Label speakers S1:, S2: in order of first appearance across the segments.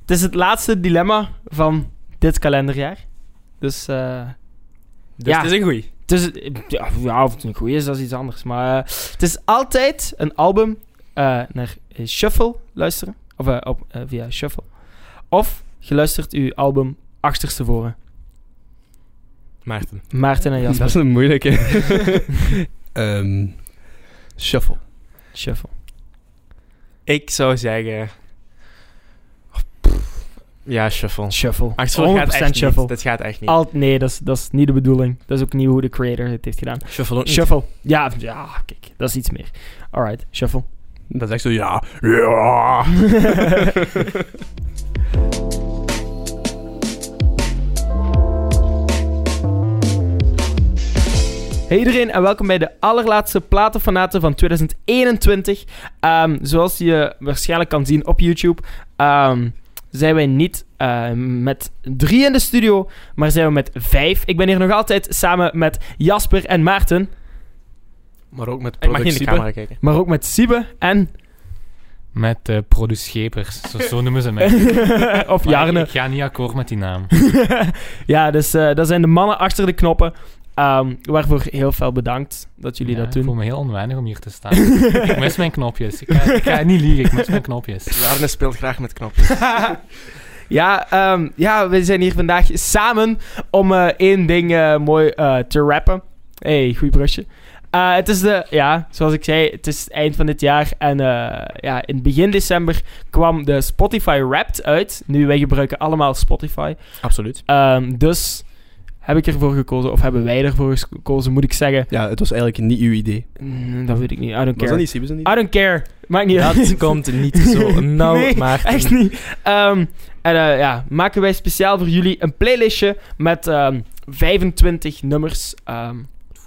S1: Het is het laatste dilemma van dit kalenderjaar. Dus, eh
S2: Dus
S1: Ja.
S2: het is een goeie.
S1: het is, ja, ja, of het een goeie is, dat is iets anders. Maar eh, het is altijd een album eh, naar eh, Shuffle luisteren. Of eh, op, eh, via Shuffle. Of je luistert uw album achterstevoren.
S2: Maarten.
S1: Maarten en Jasper.
S3: Dat is een moeilijke. Ehm, shuffle.
S1: Shuffle.
S2: Ik zou zeggen... Oh, pff. Ja, shuffle.
S1: Shuffle.
S2: Achtervolg gaat echt
S1: 100% shuffle.
S2: niet. Dit gaat echt niet.
S1: Alt, nee, dat is, dat is niet de bedoeling. Dat is ook niet hoe de creator het heeft gedaan.
S2: Shuffle ook
S1: Shuffle. Ja, ja, kijk, dat is iets meer. Alright, shuffle.
S3: Dat is echt zo, ja. Ja.
S1: Hey iedereen en welkom bij de allerlaatste Platenfanaten van 2021. Ehm, zoals je waarschijnlijk kan zien op YouTube, ehm, zijn wij niet eh, met drie in de studio, maar zijn we met vijf. Ik ben hier nog altijd samen met Jasper en Maarten,
S3: Maar ook met
S2: Ik mag niet in de
S3: productie.
S2: camera kijken.
S1: maar ook met Siebe en...
S4: Met eh produschepers, zo, zo noemen ze mij.
S1: of
S4: Maar
S1: Jarne.
S4: Ik, ik ga niet akkoord met die naam.
S1: ja, dus eh, dat zijn de mannen achter de knoppen. Ehm, waarvoor heel veel bedankt dat jullie
S4: Ja,
S1: dat
S4: Ik voel
S1: doen.
S4: me heel onwennig om hier te staan. ik mis mijn knopjes. Ik ga, ik ga niet liegen, ik mis mijn knopjes.
S2: Arne speelt graag met knopjes.
S1: ja, ehm, ja, we zijn hier vandaag samen om eh, één ding eh, mooi eh, te rappen. hey, goed brusje. Eh, het is de, ja, zoals ik zei, het is het eind van dit jaar. En eh, ja, in begin december kwam de Spotify Wrapped uit. Nu, wij gebruiken allemaal Spotify.
S2: Absoluut.
S1: Ehm, dus heb ik ervoor gekozen, of hebben wij ervoor gekozen, moet ik zeggen.
S3: Ja, het was eigenlijk niet uw idee.
S1: Mm, dat weet ik niet, I don't
S3: Was
S1: care.
S3: dat niet Sibus' idee?
S1: I don't care. Maakt niet
S2: Dat
S1: uit.
S2: komt niet zo Nou, nauw,
S1: Nee,
S2: maar...
S1: Echt niet. Ehm, en eh, ja, maken wij speciaal voor jullie een playlistje met ehm, 25 nummers ehm,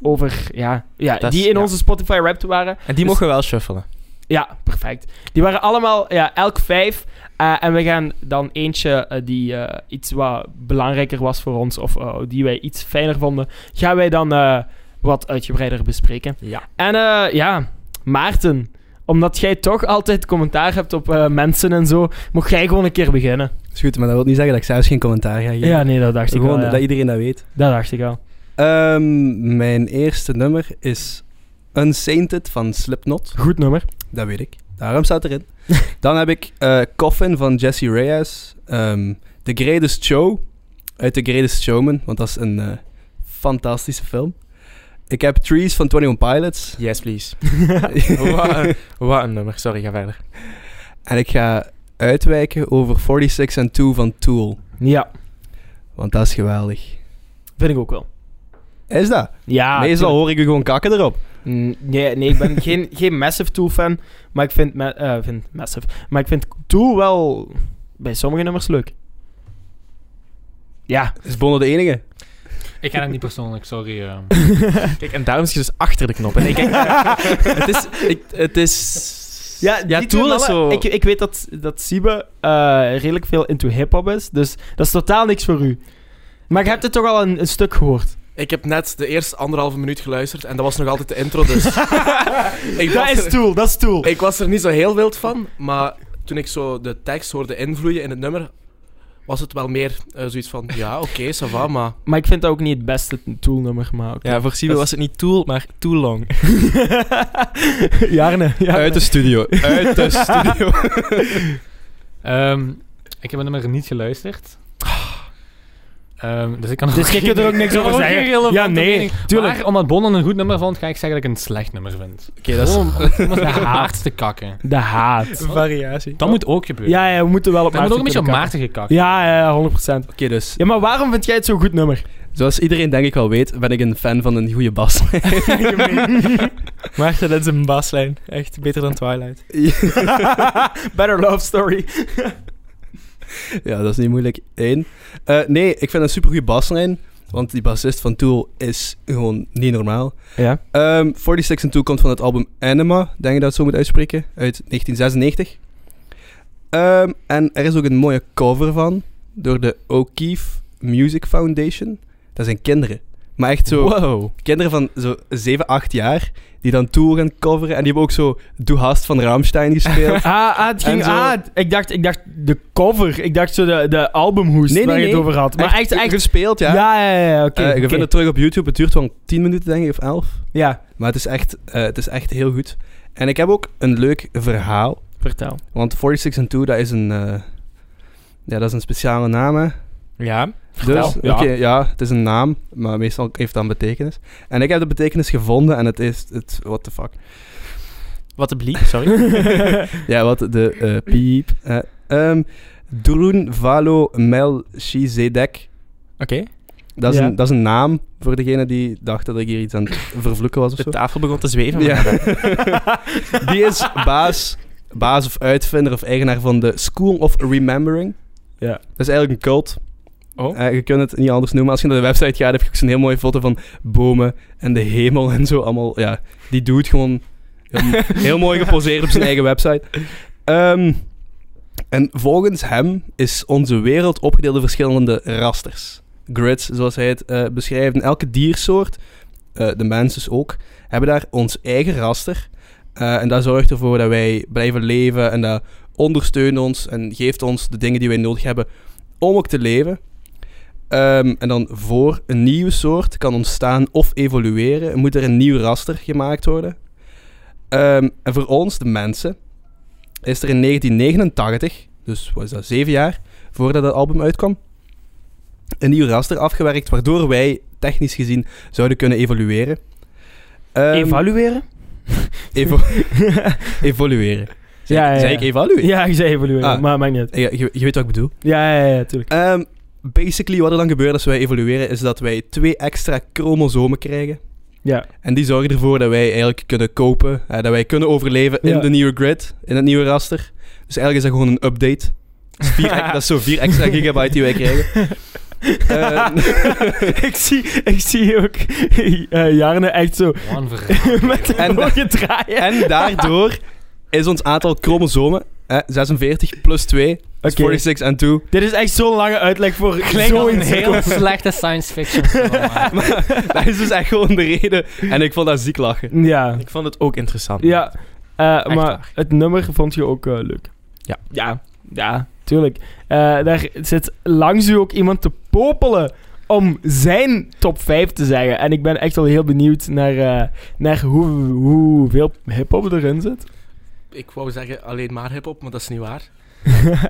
S1: over, ja, ja
S2: Dat is-
S1: die in
S2: ja.
S1: onze Spotify Wrapped waren.
S2: En die
S1: Dus-
S2: mogen we wel shuffelen.
S1: Ja, perfect. Die waren allemaal, ja, elk vijf. Eh, en we gaan dan eentje eh, die eh, iets wat belangrijker was voor ons, of eh, die wij iets fijner vonden, gaan wij dan eh, wat uitgebreider bespreken.
S2: Ja.
S1: En eh, ja, Maarten, omdat jij toch altijd commentaar hebt op eh, mensen en zo, mocht jij gewoon een keer beginnen.
S3: Is goed, maar dat wil niet zeggen dat ik zelfs geen commentaar ga geven.
S1: Ja, nee, dat dacht ik
S3: Gewoon
S1: wel. ja.
S3: dat iedereen dat weet.
S1: Dat dacht ik al.
S3: Ehm, mijn eerste nummer is Unsainted van Slipknot.
S1: Goed nummer.
S3: Dat weet ik. Daarom staat erin. Dan heb ik eh, Coffin van Jesse Reyes. ehm, The Greatest Show uit The Greatest Showman, want dat is een eh, fantastische film. Ik heb Trees van 21 Pilots.
S2: Yes, please. wat, een, wat een nummer. Sorry, ga verder.
S3: en ik ga uitwijken over 46 and 2 van Tool,
S1: Ja,
S3: want dat is geweldig.
S1: vind ik ook wel.
S3: Is dat?
S1: Ja,
S3: Meestal
S1: tuurlijk.
S3: hoor ik u gewoon kakken erop.
S1: Mm, Nee, nee, ik ben geen, geen Massive Tool fan, maar ik vind, ma- eh, vind Massive. Maar ik vind Tool wel bij sommige nummers leuk. Ja.
S3: Is Bono de enige?
S4: Ik ga dat niet persoonlijk, sorry. eh.
S2: Kijk, en daarom zit je dus achter de knop. En ik, het is... Ik, het is...
S1: die twee
S2: Tool is zo...
S1: mannen- Ik, ik weet dat, dat Siebe eh, redelijk veel into hip-hop is, dus dat is totaal niks voor u. Maar je hebt het toch al een, een stuk gehoord.
S2: Ik heb net de eerste anderhalve minuut geluisterd en dat was nog altijd de intro, dus... ik,
S1: dat
S2: was
S1: is
S2: er,
S1: Tool, dat is Tool.
S2: ik was er niet zo heel wild van, maar toen ik zo de tekst hoorde invloeien in het nummer, was het wel meer eh, zoiets van, ja, oké, ça va, maar...
S1: Maar ik vind dat ook niet het beste Tool-nummer, maar oké.
S2: Ja, voor Sibyl was het niet Tool, maar Too Long.
S1: Jarne, Jarne.
S3: Uit de studio. Uit de studio.
S4: Ehm, ik heb het nummer niet geluisterd. Ehm, dus ik kan
S1: Dus je kunt er ook niks
S4: Ik kan
S1: over
S4: ook
S1: zeggen.
S4: geen relevante
S1: Ja, nee,
S4: mening.
S1: tuurlijk.
S4: Maar omdat Bonnen een goed nummer vond, ga ik zeggen dat ik het een slecht nummer vind.
S3: Oké, dat is
S4: Gewoon eh, om iemand de haard te kakken.
S1: De haat.
S3: variatie.
S4: Dat moet ook gebeuren.
S1: Ja, ja, we moeten wel op
S4: dat moet ook een beetje op
S1: kunnen
S4: Maarten gekakken.
S1: kappen. Ja, ja, 100%.
S3: Oké, dus
S1: Ja, maar waarom vind jij het zo'n goed nummer?
S3: zoals iedereen denk ik wel weet, ben ik een fan van een goede bas.
S2: Maar dat is een baslijn. Echt beter dan Twilight.
S1: Better Love Story.
S3: ja, dat is niet moeilijk. Eén. Eh, nee, ik vind een supergoeie baslijn, want die bassist van Tool is gewoon niet normaal.
S1: Ja.
S3: Ehm 46 and Tool komt van het album Anima, denk ik dat het zo moet uitspreken, uit 1996. Ehm, en er is ook een mooie cover van, door de O'Keefe Music Foundation. Dat zijn kinderen. Maar echt zo
S1: Wow.
S3: kinderen van zo 7, 8 jaar die dan Tool gaan coveren. En die hebben ook zo Doe Haast van Rammstein gespeeld.
S1: Ah, ah, het ging,
S3: En zo-
S1: ah, ik dacht, ik dacht de cover. Ik dacht zo de, de albumhoest
S3: Nee, nee,
S1: waar je
S3: nee.
S1: het over had. Maar echt, echt.
S3: gespeeld, ja.
S1: ja, ja, ja, ja, oké.
S3: Eh, je
S1: oké.
S3: vindt het terug op YouTube. Het duurt wel 10 minuten, denk ik, of 11.
S1: Ja,
S3: Maar het is, echt, eh, het is echt heel goed. En ik heb ook een leuk verhaal.
S1: vertel.
S3: Want 46 and 2, dat is een, eh, ja, dat is een speciale naam. Hè?
S4: Ja.
S3: Dus,
S4: Vertel, ja.
S3: oké, ja, het is een naam, maar meestal heeft dat een betekenis. En ik heb de betekenis gevonden en het is, het, what the fuck.
S4: Wat een bliep, sorry.
S1: Ehm,
S3: Ja, wat de eh, piep. eh ehm Droen Valo Mel Shizedek.
S4: Oké.
S3: Dat, is
S1: Ja.
S3: een- dat is een naam voor degene die dacht dat ik hier iets aan het vervloeken was of
S4: De
S3: zo.
S4: tafel begon te zweven.
S3: Ja. die is baas, baas of uitvinder of eigenaar van de School of Remembering.
S1: Ja.
S3: Dat is eigenlijk een cult.
S4: Oh.
S3: Eh, je kunt het niet anders noemen. Als je naar de website gaat, heb je ook zo'n heel mooie foto van bomen en de hemel en zo. Allemaal, ja, die doet gewoon heel, heel mooi geposeerd op zijn eigen website. Ehm, en volgens hem is onze wereld opgedeeld in verschillende rasters. Grids, zoals hij het eh, beschrijft. En elke diersoort, eh, de mens dus ook, hebben daar ons eigen raster. Eh, en dat zorgt ervoor dat wij blijven leven en dat ondersteunt ons en geeft ons de dingen die wij nodig hebben om ook te leven. Ehm, en dan voor een nieuwe soort kan ontstaan of evolueren, moet er een nieuw raster gemaakt worden. Ehm, en voor ons, de mensen, is er in 1989, dus wat is dat, zeven jaar voordat het album uitkwam, een nieuw raster afgewerkt, waardoor wij technisch gezien zouden kunnen evolueren. Ehm,
S1: Evalueren?
S3: evo- evolueren. Zeg,
S1: Ah, Ja, ja,
S3: zeg
S1: ja.
S3: ik evalueren?
S1: Ja, ik zei evalueren,
S3: Ah.
S1: maar maakt niet uit.
S3: Ja, je, je weet wat ik bedoel.
S1: Ja, ja, ja, tuurlijk.
S3: Ehm, basically, wat er dan gebeurt als wij evolueren, is dat wij twee extra chromosomen krijgen.
S1: Ja.
S3: En die zorgen ervoor dat wij eigenlijk kunnen kopen, eh, dat wij kunnen overleven in
S1: Ja.
S3: de nieuwe grid, in het nieuwe raster. Dus eigenlijk is dat gewoon een update. Dat is, vier, ex- dat is zo 4 extra gigabyte die wij krijgen. Ehm,
S1: ik, zie, ik zie ook eh Jarne echt zo
S4: One verhaal.
S1: met de
S3: En-
S1: ogen draaien.
S3: en daardoor is ons aantal chromosomen, eh, 46 plus 2, dat is
S1: Oké.
S3: 46 en 2.
S1: Dit is echt zo'n lange uitleg voor zo'n heel...
S4: slechte Oh science fiction film.
S3: Maar dat is dus echt gewoon de reden. En ik vond dat ziek lachen.
S1: Ja,
S5: Ik vond het ook interessant.
S1: ja. Eh, maar
S5: waar.
S1: het nummer vond je ook eh, leuk.
S5: Ja.
S1: Ja, ja, tuurlijk. Eh, daar zit langs u ook iemand te popelen om zijn top 5 te zeggen. En ik ben echt wel heel benieuwd naar, eh, naar hoe, hoeveel hip-hop erin zit.
S5: Ik wou zeggen alleen maar hip-hop, maar dat is niet waar.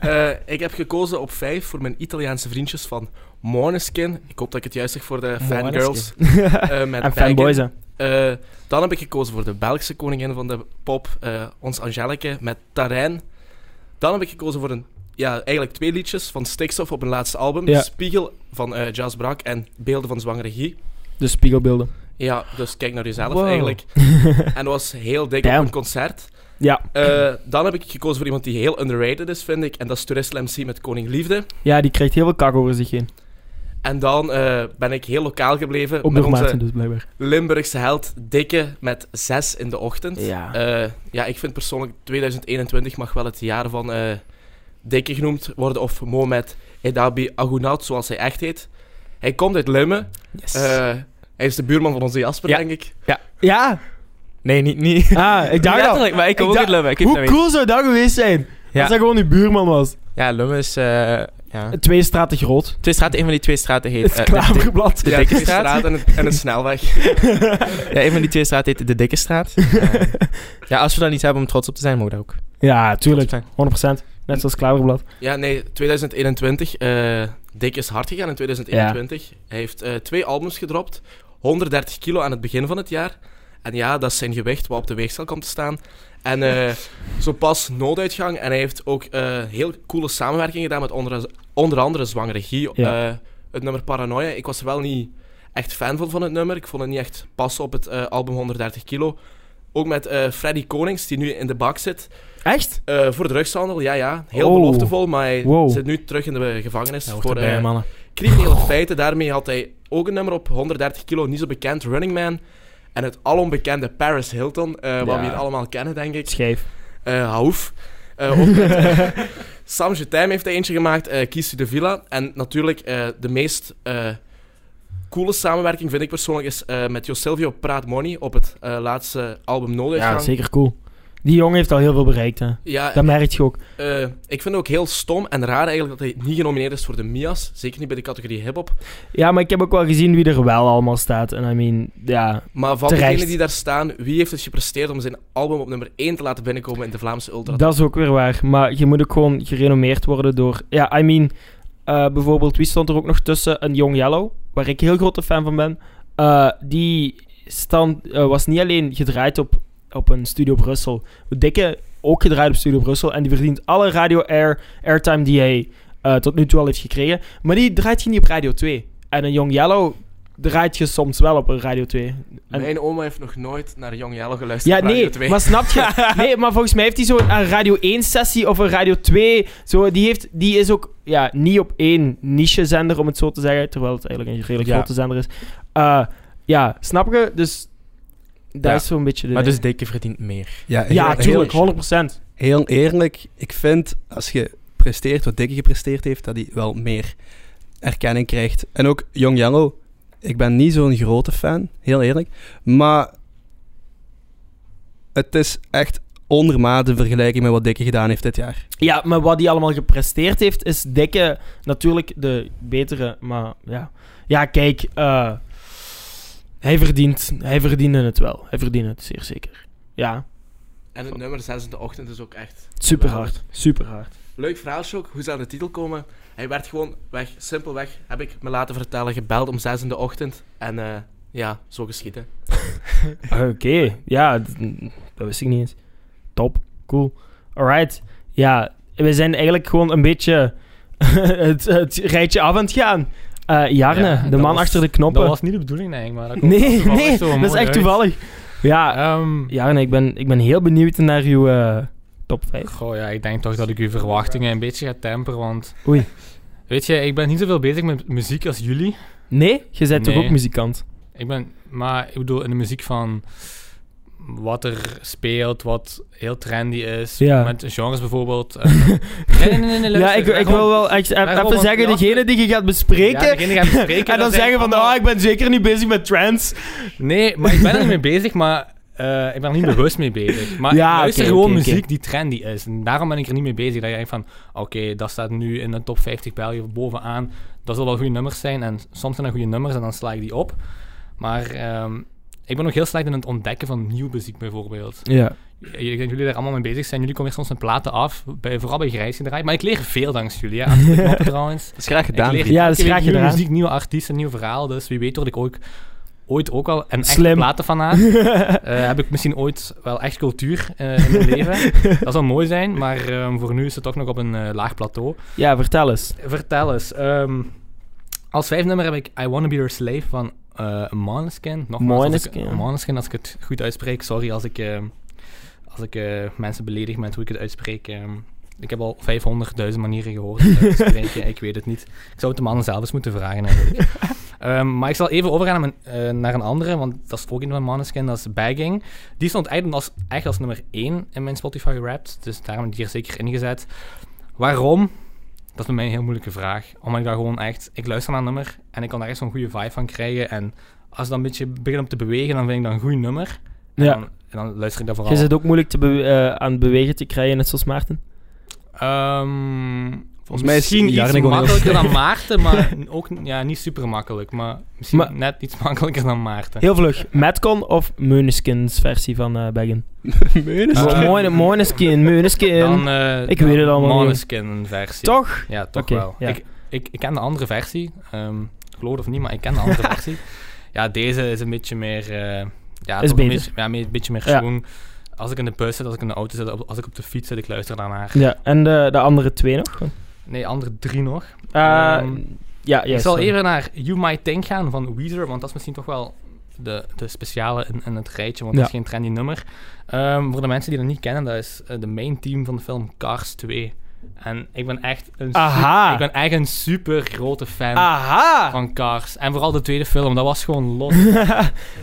S5: Eh, ik heb gekozen op vijf voor mijn Italiaanse vriendjes van Måneskin. Ik hoop dat ik het juist zeg voor de fangirls. eh, met
S1: en
S5: Baggy.
S1: fanboys, hè.
S5: Eh, dan heb ik gekozen voor de Belgische koningin van de pop, eh, ons Angelique met Tarijn. Dan heb ik gekozen voor een, ja, eigenlijk twee liedjes van Stikstof op hun laatste album:
S1: Ja.
S5: Spiegel van eh Jazz Brak en Beelden van Zwangere Guy.
S1: De spiegelbeelden.
S5: Ja, dus kijk naar jezelf
S1: Wow.
S5: eigenlijk. En dat was heel dik op
S1: Damn.
S5: een concert.
S1: Ja.
S5: Eh, dan heb ik gekozen voor iemand die heel underrated is, vind ik. En dat is Tourist MC met Koning Liefde.
S1: Ja, die krijgt heel veel kak over zich heen.
S5: En dan eh, ben ik heel lokaal gebleven
S1: Ook
S5: met
S1: nog
S5: onze
S1: Maarten dus, blijkbaar.
S5: Limburgse held Dikke met 6 in de ochtend.
S1: Ja.
S5: Eh, ja, ik vind persoonlijk 2021 mag wel het jaar van eh Dikke genoemd worden. Of Mohamed Edabi Agunaut, zoals hij echt heet. Hij komt uit Limmen. Eh, hij is de buurman van onze Jasper,
S4: Ja.
S5: denk ik.
S1: Ja,
S4: Nee, niet. niet.
S1: ah, ik dacht al.
S4: Letterlijk, maar ik kom
S1: Ik
S4: ook
S1: dacht-
S4: uit Lummen. Ik weet het
S1: Hoe
S4: niet.
S1: cool zou dat geweest zijn?
S4: Ja.
S1: Als dat gewoon uw buurman was.
S4: Ja, Lummen is... eh ja.
S1: Twee straten groot.
S4: Twee straten, een van die twee straten heet...
S1: Het
S4: eh, de- de-
S1: klaverblad.
S4: De
S5: ja,
S4: Dikke
S5: twee
S4: Straat.
S5: straten en, een- en een snelweg.
S4: Ja, een van die twee straten heet de Dikke Straat. Eh, ja, als we dan iets hebben om trots op te zijn, mogen we daar ook.
S1: Ja,
S4: trots op
S1: tuurlijk. 100%.
S4: zijn.
S1: Net zoals klaverblad.
S5: Ja, nee, 2021. eh Dick is hard gegaan in 2021. Hij heeft eh, twee albums gedropt. 130 kilo aan het begin van het jaar. En ja, dat is zijn gewicht wat op de weegschaal komt te staan. En eh, zo pas nooduitgang. En hij heeft ook eh, heel coole samenwerkingen gedaan met onder, onder andere Zwangere Guy.
S1: Ja.
S5: eh, het nummer Paranoia. Ik was er wel niet echt fan van, van het nummer. Ik vond het niet echt passen op het eh, album 130 kilo. Ook met eh, Freddy Konings, die nu in de bak zit.
S1: Echt?
S5: Eh, voor drugshandel, ja, ja. Heel
S1: Oh.
S5: beloftevol, maar hij
S1: Wow.
S5: zit nu terug in de eh, gevangenis voor eh,
S4: mannen.
S5: criminele feiten. Daarmee had hij ook een nummer op 130 kilo, niet zo bekend, Running Man. En het alombekende Paris Hilton, eh, wat
S1: Ja.
S5: we hier allemaal kennen, denk ik.
S1: Schijf.
S5: Eh Haouf. Eh, ook met, eh, Sam Jutijm heeft hij eentje gemaakt, eh Kies u de Villa. En natuurlijk eh, de meest eh,
S2: coole samenwerking vind ik persoonlijk is eh, met Josilvio Praat Money op het eh, laatste album No
S1: Ja, zeker cool. Die jongen heeft al heel veel bereikt, hè.
S2: Ja,
S1: Dat merk je ook.
S2: eh, ik vind het ook heel stom en raar eigenlijk dat hij niet genomineerd is voor de Mias. Zeker niet bij de categorie hip-hop.
S1: Ja, maar ik heb ook wel gezien wie er wel allemaal staat. En I mean, ja.
S2: Maar van
S1: Terecht.
S2: degenen die daar staan, wie heeft het gepresteerd om zijn album op nummer 1 te laten binnenkomen in de Vlaamse Ultra?
S1: Dat is ook weer waar. Maar je moet ook gewoon gerenommeerd worden door... Ja, I mean... eh, bijvoorbeeld, wie stond er ook nog tussen? Een Young Yellow, waar ik heel grote fan van ben. Eh, die stand, eh, was niet alleen gedraaid op, op een Studio Brussel. Dikke ook gedraaid op Studio Brussel. En die verdient alle radio air, airtime die hij eh, tot nu toe al heeft gekregen. Maar die draait je niet op Radio 2. En een Young Yellow draait je soms wel op een Radio 2. En-
S2: Mijn oma heeft nog nooit naar Young Yellow geluisterd.
S1: Ja,
S2: op Radio
S1: nee,
S2: 2.
S1: maar snap je? Nee, maar volgens mij heeft hij zo'n een Radio 1-sessie of een Radio 2. Zo, die, heeft, die is ook ja, niet op één niche-zender, om het zo te zeggen. Terwijl het eigenlijk een redelijk
S3: Ja.
S1: grote zender is. Eh, ja, snap je? Dus dat
S3: Ja.
S1: is zo'n beetje de...
S5: Maar dus Dikke verdient meer.
S3: Ja,
S1: ja,
S3: heel-
S1: tuurlijk, 100%.
S3: Heel eerlijk, ik vind als je presteert wat Dikke gepresteerd heeft, dat hij wel meer erkenning krijgt. En ook Young Yellow, ik ben niet zo'n grote fan, heel eerlijk. Maar het is echt ondermaat in vergelijking met wat Dikke gedaan heeft dit jaar.
S1: Ja, maar wat hij allemaal gepresteerd heeft, is dikke natuurlijk de betere. Maar ja, ja kijk, eh, hij, verdient, hij verdiende het wel. Hij verdiende het, zeer zeker. Ja,
S2: En het nummer 6 in de ochtend is ook echt...
S1: super hard. Super hard.
S2: Leuk verhaaltje ook, hoe zou de titel komen? Hij werd gewoon weg, simpelweg, heb ik me laten vertellen, gebeld om 6 in de ochtend. En eh, ja, zo geschieden.
S1: Oké, ja, d- n- dat wist ik niet eens. Top, cool. Alright, ja, we zijn eigenlijk gewoon een beetje het, het rijtje af aan het gaan. Eh, Jarne,
S4: Ja,
S1: de
S4: dat
S1: man
S4: was-
S1: achter de knoppen.
S4: Dat was niet de bedoeling, eigenlijk, maar dat komt
S1: nee,
S4: toevallig
S1: nee,
S4: zo
S1: dat is
S4: mooi
S1: echt
S4: uit.
S1: toevallig. Ja,
S4: Ehm,
S1: Jarne, ik ben, ik ben heel benieuwd naar uw eh, top 5.
S4: Goh, ja, ik denk toch dat ik uw verwachtingen een beetje ga temperen, want...
S1: Oei.
S4: Weet je, ik ben niet zoveel bezig met muziek als jullie.
S1: Nee? Je bent toch
S4: Nee.
S1: ook muzikant?
S4: Ik ben... Maar ik bedoel, in de muziek van... Wat er speelt, wat heel trendy is.
S1: Ja.
S4: Met genres bijvoorbeeld. eh, nee, nee, nee, nee,
S1: ja,
S4: luister,
S1: ik, ik
S4: gewoon-
S1: wil wel echt, even
S4: gewoon, want
S1: zeggen,
S4: Jasper-
S1: degene die je gaat bespreken...
S4: Ja, degene die gaat bespreken,
S1: en dan
S4: dat zijn
S1: zeggen van,
S4: allemaal-
S1: oh, ik ben zeker niet bezig met trends.
S4: Nee, maar ik ben er niet mee bezig, maar eh, ik ben er niet bewust mee bezig. Maar
S1: Ja,
S4: ik luister
S1: oké,
S4: gewoon
S1: oké, oké.
S4: muziek die trendy is. En daarom ben ik er niet mee bezig. Dat je denkt van, oké, dat staat nu in de top 50 België bovenaan. Dat zullen wel goede nummers zijn. En soms zijn dat goede nummers en dan sla ik die op. Maar ehm, ik ben nog heel slecht in het ontdekken van nieuw muziek bijvoorbeeld.
S1: Ja.
S4: Ik denk dat jullie daar allemaal mee bezig zijn. Jullie komen soms met platen af, bij, vooral bij grijs gedraaid. Maar ik leer veel dankzij jullie, hè, achter de knoppen trouwens.
S5: Dat is graag gedaan.
S4: Ik leer
S1: Ja, dat is
S4: elke week
S1: graag
S4: nieuwe
S1: gedaan.
S4: muziek, nieuwe artiesten, nieuw verhaal. Dus wie weet word ik ook, ooit ook al een echt
S1: Slim.
S4: platenfanaat. Eh, heb ik misschien ooit wel echt cultuur eh, in mijn leven. Dat zou mooi zijn, maar ehm, voor nu is het toch nog op een eh, laag plateau.
S1: ja, vertel eens.
S4: Vertel eens. ehm, als vijf nummer heb ik I Wanna Be Your Slave van eh Måneskin. Nogmaals, als ik-
S1: Måneskin.
S4: Måneskin, als ik het goed uitspreek. Sorry als ik, ehm, als ik eh, mensen beledig met hoe ik het uitspreek. ehm. ik heb al 500.000 manieren gehoord om het uit te spreken. ik weet het niet. Ik zou het de mannen zelf eens moeten vragen eigenlijk. Ehm, maar ik zal even overgaan naar, mijn- eh, naar een andere, want dat is ook een van Måneskin, dat is Bagging. Die stond eigenlijk als, echt als nummer 1 in mijn Spotify Wrapped, dus daarom heb ik die er zeker ingezet. Waarom? Dat is bij mij een heel moeilijke vraag. Omdat ik daar gewoon echt... Ik luister naar een nummer en ik kan daar echt zo'n goede vibe van krijgen. En als dat een beetje begint om te bewegen, dan vind ik dat een goed nummer. En,
S1: Ja.
S4: dan, en dan luister ik daar vooral...
S1: Je zit ook moeilijk te be- eh, aan het bewegen te krijgen, net zoals Maarten.
S4: Ehm,
S3: Volgens mij is
S4: misschien
S3: Jarno
S4: iets
S3: gewoon heel
S4: makkelijker
S3: sterk.
S4: dan Maarten, maar ook ja, niet super makkelijk. Maar misschien
S1: Maar-
S4: net iets makkelijker dan Maarten.
S1: Heel vlug. Metcon of Meuniskins versie van eh Baggen?
S3: Meuniskins?
S4: Eh,
S1: Mo- mooi- Moneskin, Meuneskin.
S4: Dan, eh,
S1: Ik weet het allemaal niet.
S4: Måneskin versie.
S1: Toch?
S4: Ja, toch
S1: Oké,
S4: wel.
S1: ja.
S4: Ik, ik, ik ken de andere versie. Ehm, geloof het of niet, maar ik ken de andere versie. Ja, deze is een beetje meer... eh, ja,
S1: Is
S4: toch Een
S1: beter.
S4: beetje, ja, meer- een beetje meer
S1: Ja.
S4: schoon. Als ik in de bus zit, als ik in de auto zit, op- als ik op de fiets zit, ik luister daarnaar.
S1: Ja, en de, de andere twee nog? Eh,
S4: Nee, andere drie nog. Ehm,
S1: ja, ja,
S4: ik zal
S1: sorry.
S4: even naar You Might Think gaan van Weezer, want dat is misschien toch wel de, de speciale in, in het rijtje, want dat is geen trendy nummer. Ehm, voor de mensen die dat niet kennen, dat is eh, de main team van de film Cars 2. En ik ben echt een, su-
S1: Aha.
S4: ik ben echt een super grote fan
S1: Aha!
S4: van Cars. En vooral de tweede film, dat was gewoon los.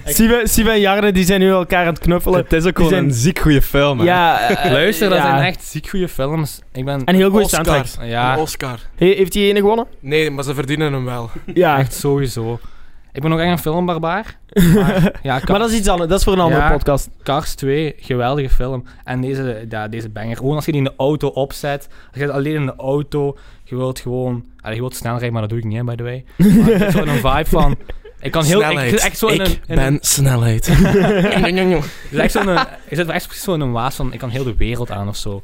S1: Siebe Siebe en Jarne die zijn nu elkaar aan het knuffelen.
S5: Het is ook
S1: Die
S5: gewoon een ziek goede film. hè.
S1: Ja, eh,
S4: Luister, dat
S1: ja.
S4: zijn echt ziek goede films. Ik ben
S1: En heel goede
S2: Oscar.
S1: soundtracks.
S4: ja,
S2: Een Oscar.
S1: He- heeft hij ene gewonnen?
S2: Nee, maar ze verdienen hem wel.
S1: Ja.
S4: echt sowieso. Ik ben ook echt een filmbarbaar. Maar, ja, Car-
S1: Maar dat is iets anders. Dat is voor een andere
S4: Ja.
S1: podcast.
S4: Cars 2, geweldige film. En deze, ja, deze banger. Gewoon als je die in de auto opzet. Als je het alleen in de auto. Je wilt gewoon... allee, je wilt snel rijden, maar dat doe ik niet, hè, by the way. Maar ik heb zo'n vibe van... Ik kan heel... Ik,
S2: snelheid.
S4: zit echt zo in een, in
S2: ben
S4: een-
S2: snelheid.
S4: dus echt zo'n, eh, ik zit wel echt precies zo in een waas van, ik kan heel de wereld aan of zo.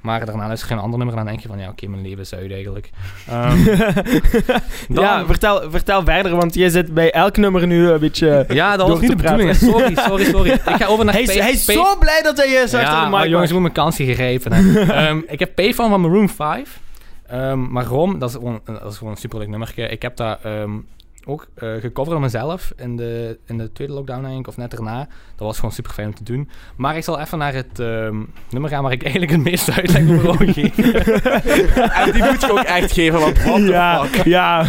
S4: Maar daarna luister je geen ander nummer en dan denk je van, ja, oké, mijn leven is uit eigenlijk. Ehm, dan-
S1: ja, vertel, vertel verder, want jij zit bij elk nummer nu een beetje...
S4: ja, dat
S1: door
S4: was niet
S1: te
S4: de bedoeling.
S1: praten.
S4: Sorry, sorry, sorry. Ik ga over naar
S1: hij, is,
S4: Pay-
S1: hij is
S4: Pay-
S1: zo blij dat hij je achter
S4: ja,
S1: de mic
S4: maar
S1: was.
S4: jongens, ik moet mijn kansen gegrepen hebben. Ehm, ik heb Payphone van Maroon 5. Ehm, maar Rom, dat is gewoon, eh, dat is gewoon een superleuk nummerke. Ik heb dat ehm, ook eh gecoverd aan mezelf in de, in de tweede lockdown eigenlijk, of net daarna. Dat was gewoon super fijn om te doen. Maar ik zal even naar het ehm, nummer gaan waar ik eigenlijk het meeste uitleg over wou geven.
S2: en die moet je ook echt geven, want what the
S1: ja,
S2: fuck.
S1: ja.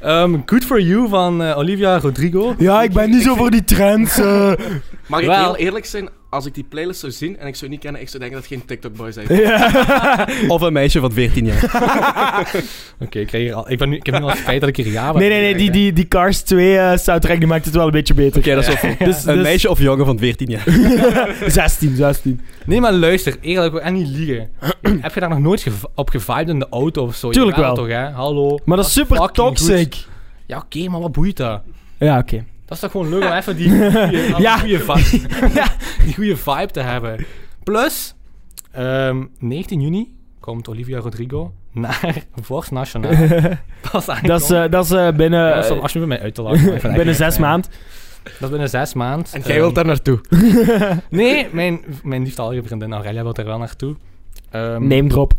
S4: Ehm, Good For You van eh, Olivia Rodrigo.
S1: ja, ik ben niet zo voor die trends. eh.
S2: Mag ik
S4: Wel.
S2: heel eerlijk zijn? Als ik die playlist zou zien en ik zou niet kennen, ik zou denken dat het geen TikTok-boy zijn.
S1: Ja.
S3: Of een meisje van 14 jaar.
S4: Oké, ik, krijg hier al- ik, ben nu- ik heb nu al het feit dat ik hier ja
S1: Nee, nee, nee, die, die, die Cars 2 eh, soundtrack die maakt het wel een beetje beter.
S3: Oké, dat is wel
S1: Dus,
S3: Een
S1: dus-
S3: meisje of jongen van 14 jaar.
S1: 16, 16.
S4: Nee, maar luister, eerlijk, en niet liegen. Heb je daar nog nooit geva- op gevibed in de auto of zo?
S1: Tuurlijk
S4: Jawel
S1: wel.
S4: toch, hè? Hallo.
S1: Maar dat is super
S4: fucking
S1: toxic.
S4: goed. Ja, oké, maar wat boeit dat?
S1: Ja, oké.
S4: Dat is toch gewoon leuk om even die goede
S1: Ja.
S4: vibe, die goede vibe te hebben. Plus, ehm, 19 juni komt Olivia Rodrigo naar Vorst Nationaal. Dat is,
S1: Dat is, eh, dat is eh, binnen, eh,
S4: als je met mij uit te lachen. maar ik vind het
S1: binnen
S4: echt
S1: zes
S4: niet erg, hè.
S1: maanden.
S4: Dat is binnen zes maanden.
S2: En jij wilt daar naartoe.
S4: Nee, mijn, mijn liefdalige vriendin Aurelia wil er wel naartoe. Ehm,
S1: Neem drop.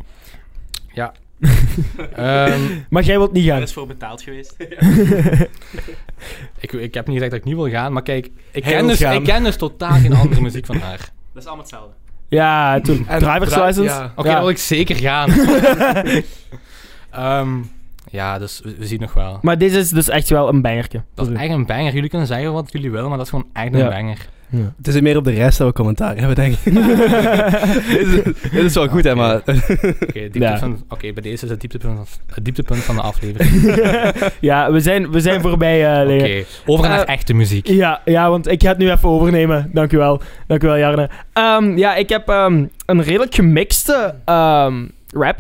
S4: ehm,
S1: Maar jij wilt niet
S5: Daar
S1: gaan.
S5: is voor betaald geweest.
S4: Ik, ik heb niet gezegd dat ik niet wil gaan, maar kijk, ik,
S2: Hij
S4: ken
S2: wil
S4: dus,
S2: gaan.
S4: ik ken dus totaal geen andere muziek van haar.
S5: Dat is allemaal hetzelfde.
S1: Ja, toen.
S2: En
S1: Driver's
S2: dra-
S1: license.
S2: ja.
S4: Oké,
S1: Ja.
S4: dan wil ik zeker gaan. Ehm, ja, dus we, we zien nog wel.
S1: Maar deze is dus echt wel een bangerke.
S4: Dat is echt een banger. Jullie kunnen zeggen wat jullie willen, maar dat is gewoon echt een
S1: Ja.
S4: banger.
S3: Het is meer op de rest dat we commentaar hebben, denk ik. dit, is, dit is wel goed, hè, maar...
S4: Oké, dieptepunt- oké, bij deze is het dieptepunt van, het dieptepunt van de aflevering.
S1: ja, we zijn, we zijn voorbij, eh
S4: Oké,
S1: Leo.
S4: over naar
S1: Eh,
S4: echte muziek.
S1: Ja, ja, want ik ga het nu even overnemen. Dank u wel. Dank u wel, Jarne. Ehm, ja, ik heb ehm, een redelijk gemixte ehm rap.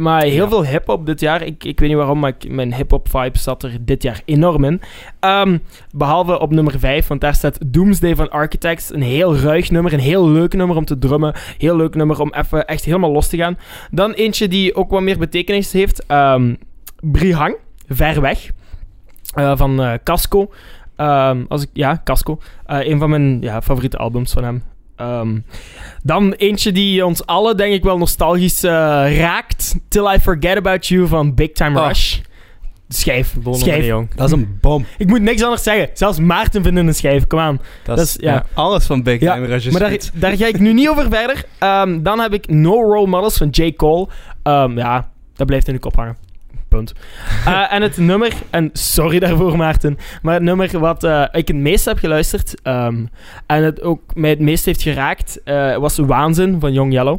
S1: Maar heel
S4: Ja.
S1: veel hip-hop dit jaar. Ik, ik weet niet waarom, maar ik- mijn hip-hop vibe zat er dit jaar enorm in. Ehm, behalve op nummer 5, want daar staat Doomsday van Architects. Een heel ruig nummer, een heel leuk nummer om te drummen. Heel leuk nummer om even echt helemaal los te gaan. Dan eentje die ook wat meer betekenis heeft: ehm, Brihang, Ver Weg. eh, van eh, Casco. Ehm, als ik, ja, Casco. Eh, een van mijn ja, favoriete albums van hem. Ehm, dan eentje die ons allen, denk ik, wel nostalgisch eh, raakt. Till I Forget About You van Big Time
S3: Oh.
S1: Rush. Schijf. Schijf.
S5: jong.
S3: Dat is een bom.
S1: Ik moet niks anders zeggen. Zelfs Maarten vindt een schijf. Kom aan.
S3: Dat
S1: is- ja.
S3: Alles van Big
S1: Ja,
S3: Time Rush is
S1: Maar daar,
S3: goed.
S1: daar ga ik nu niet over verder. Ehm, dan heb ik No Role Models van J. Cole. Ehm, ja, dat blijft in de kop hangen. Punt. Eh, en het nummer, en sorry daarvoor Maarten, maar het nummer wat eh, ik het meest heb geluisterd ehm, en het ook mij het meest heeft geraakt, eh, was Waanzin van Young Yellow.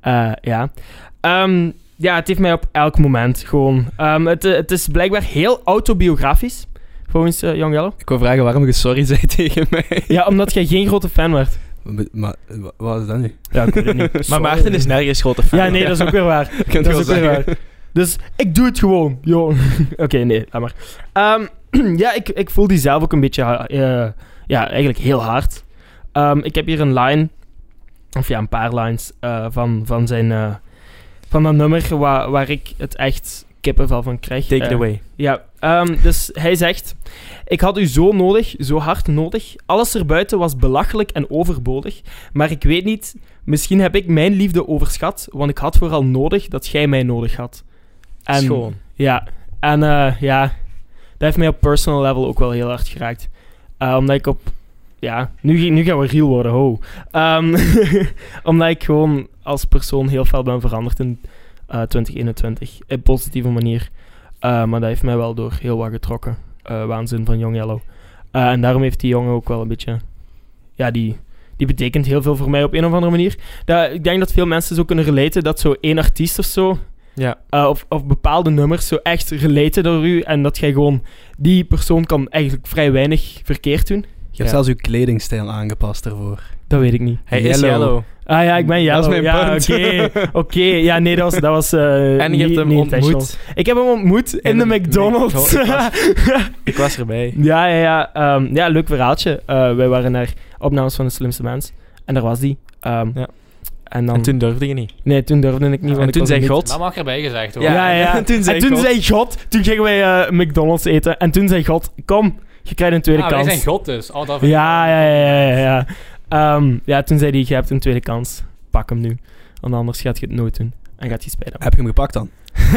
S1: Eh, ja. Ehm, ja, het heeft mij op elk moment gewoon. ehm, het, eh, het is blijkbaar heel autobiografisch, volgens eh, Young Yellow.
S3: Ik wil vragen waarom je sorry zei tegen mij.
S1: Ja, omdat jij geen grote fan werd.
S3: Maar, maar wa- wat is dat nu?
S1: Ja, ik weet het niet.
S5: Maar Maarten is nergens grote fan.
S1: Ja, nee, dat is ook weer waar.
S3: Ik kan
S1: Dat
S3: het
S1: is
S3: wel
S1: ook weer
S3: zeggen.
S1: waar. Dus ik doe het gewoon, joh. Oké, nee, laat maar. Ehm, ja, ik, ik voel die zelf ook een beetje, eh, ja, eigenlijk heel hard. Ehm, ik heb hier een line, of ja, een paar lines eh, van, van zijn, eh, van dat nummer waar, waar ik het echt kippenvel van krijg.
S5: Take it
S1: Eh,
S5: away.
S1: ja, ehm, dus hij zegt: Ik had u zo nodig, zo hard nodig. Alles erbuiten was belachelijk en overbodig. Maar ik weet niet, misschien heb ik mijn liefde overschat, want ik had vooral nodig dat jij mij nodig had. En,
S5: Schoon.
S1: Ja, en eh, ja, dat heeft mij op personal level ook wel heel hard geraakt. Eh, omdat ik op. Ja, nu, nu gaan we real worden, ho. Ehm, omdat ik gewoon als persoon heel veel ben veranderd in eh, 2021. In positieve manier. Uh, maar dat heeft mij wel door heel wat getrokken. Eh, waanzin van Young Yellow. Eh, en daarom heeft die jongen ook wel een beetje... Ja, die, die betekent heel veel voor mij op een of andere manier. Dat, ik denk dat veel mensen zo kunnen relaten dat zo één artiest of zo...
S2: Ja.
S1: eh, of, of bepaalde nummers zo echt relaten door u. En dat jij gewoon... Die persoon kan eigenlijk vrij weinig verkeerd doen.
S3: Je hebt zelfs je kledingstijl aangepast daarvoor.
S1: Dat weet ik niet.
S2: Hij is
S3: Yellow.
S2: yellow.
S1: Ah ja, ik ben
S2: Dat is mijn
S1: Jelle. Ja,
S2: punt.
S1: oké. Oké, ja, nee, dat was... Dat was eh,
S2: En je hebt
S1: niet-
S2: hem
S1: niet intentional.
S2: ontmoet.
S1: Ik heb hem ontmoet in, de,
S2: de
S1: McDonald's.
S2: Ik was erbij.
S1: ja, ja, ja. ehm, ja, leuk verhaaltje. Eh, wij waren naar opnames van de slimste mens. En daar was die. Ehm,
S2: Ja.
S1: En dan...
S2: En toen durfde je niet.
S1: Nee, toen durfde ik niet. want
S2: en
S1: ik
S2: toen
S1: was
S2: zei
S1: een
S2: God...
S4: Dat mag erbij gezegd
S1: Ja,
S4: worden.
S1: ja, ja. En toen zei, God. toen gingen wij eh, McDonald's eten. En toen zei God, kom, je krijgt een tweede
S4: Ah, wij
S1: kans.
S4: zijn God dus. Oh, dat vind ik-
S1: ja, ja, ja, ja. Ja. Ehm, ja, toen zei hij, je hebt een tweede kans. Pak hem nu. Want anders gaat je het nooit doen. En gaat je spijt hebben.
S3: Heb je hem gepakt dan?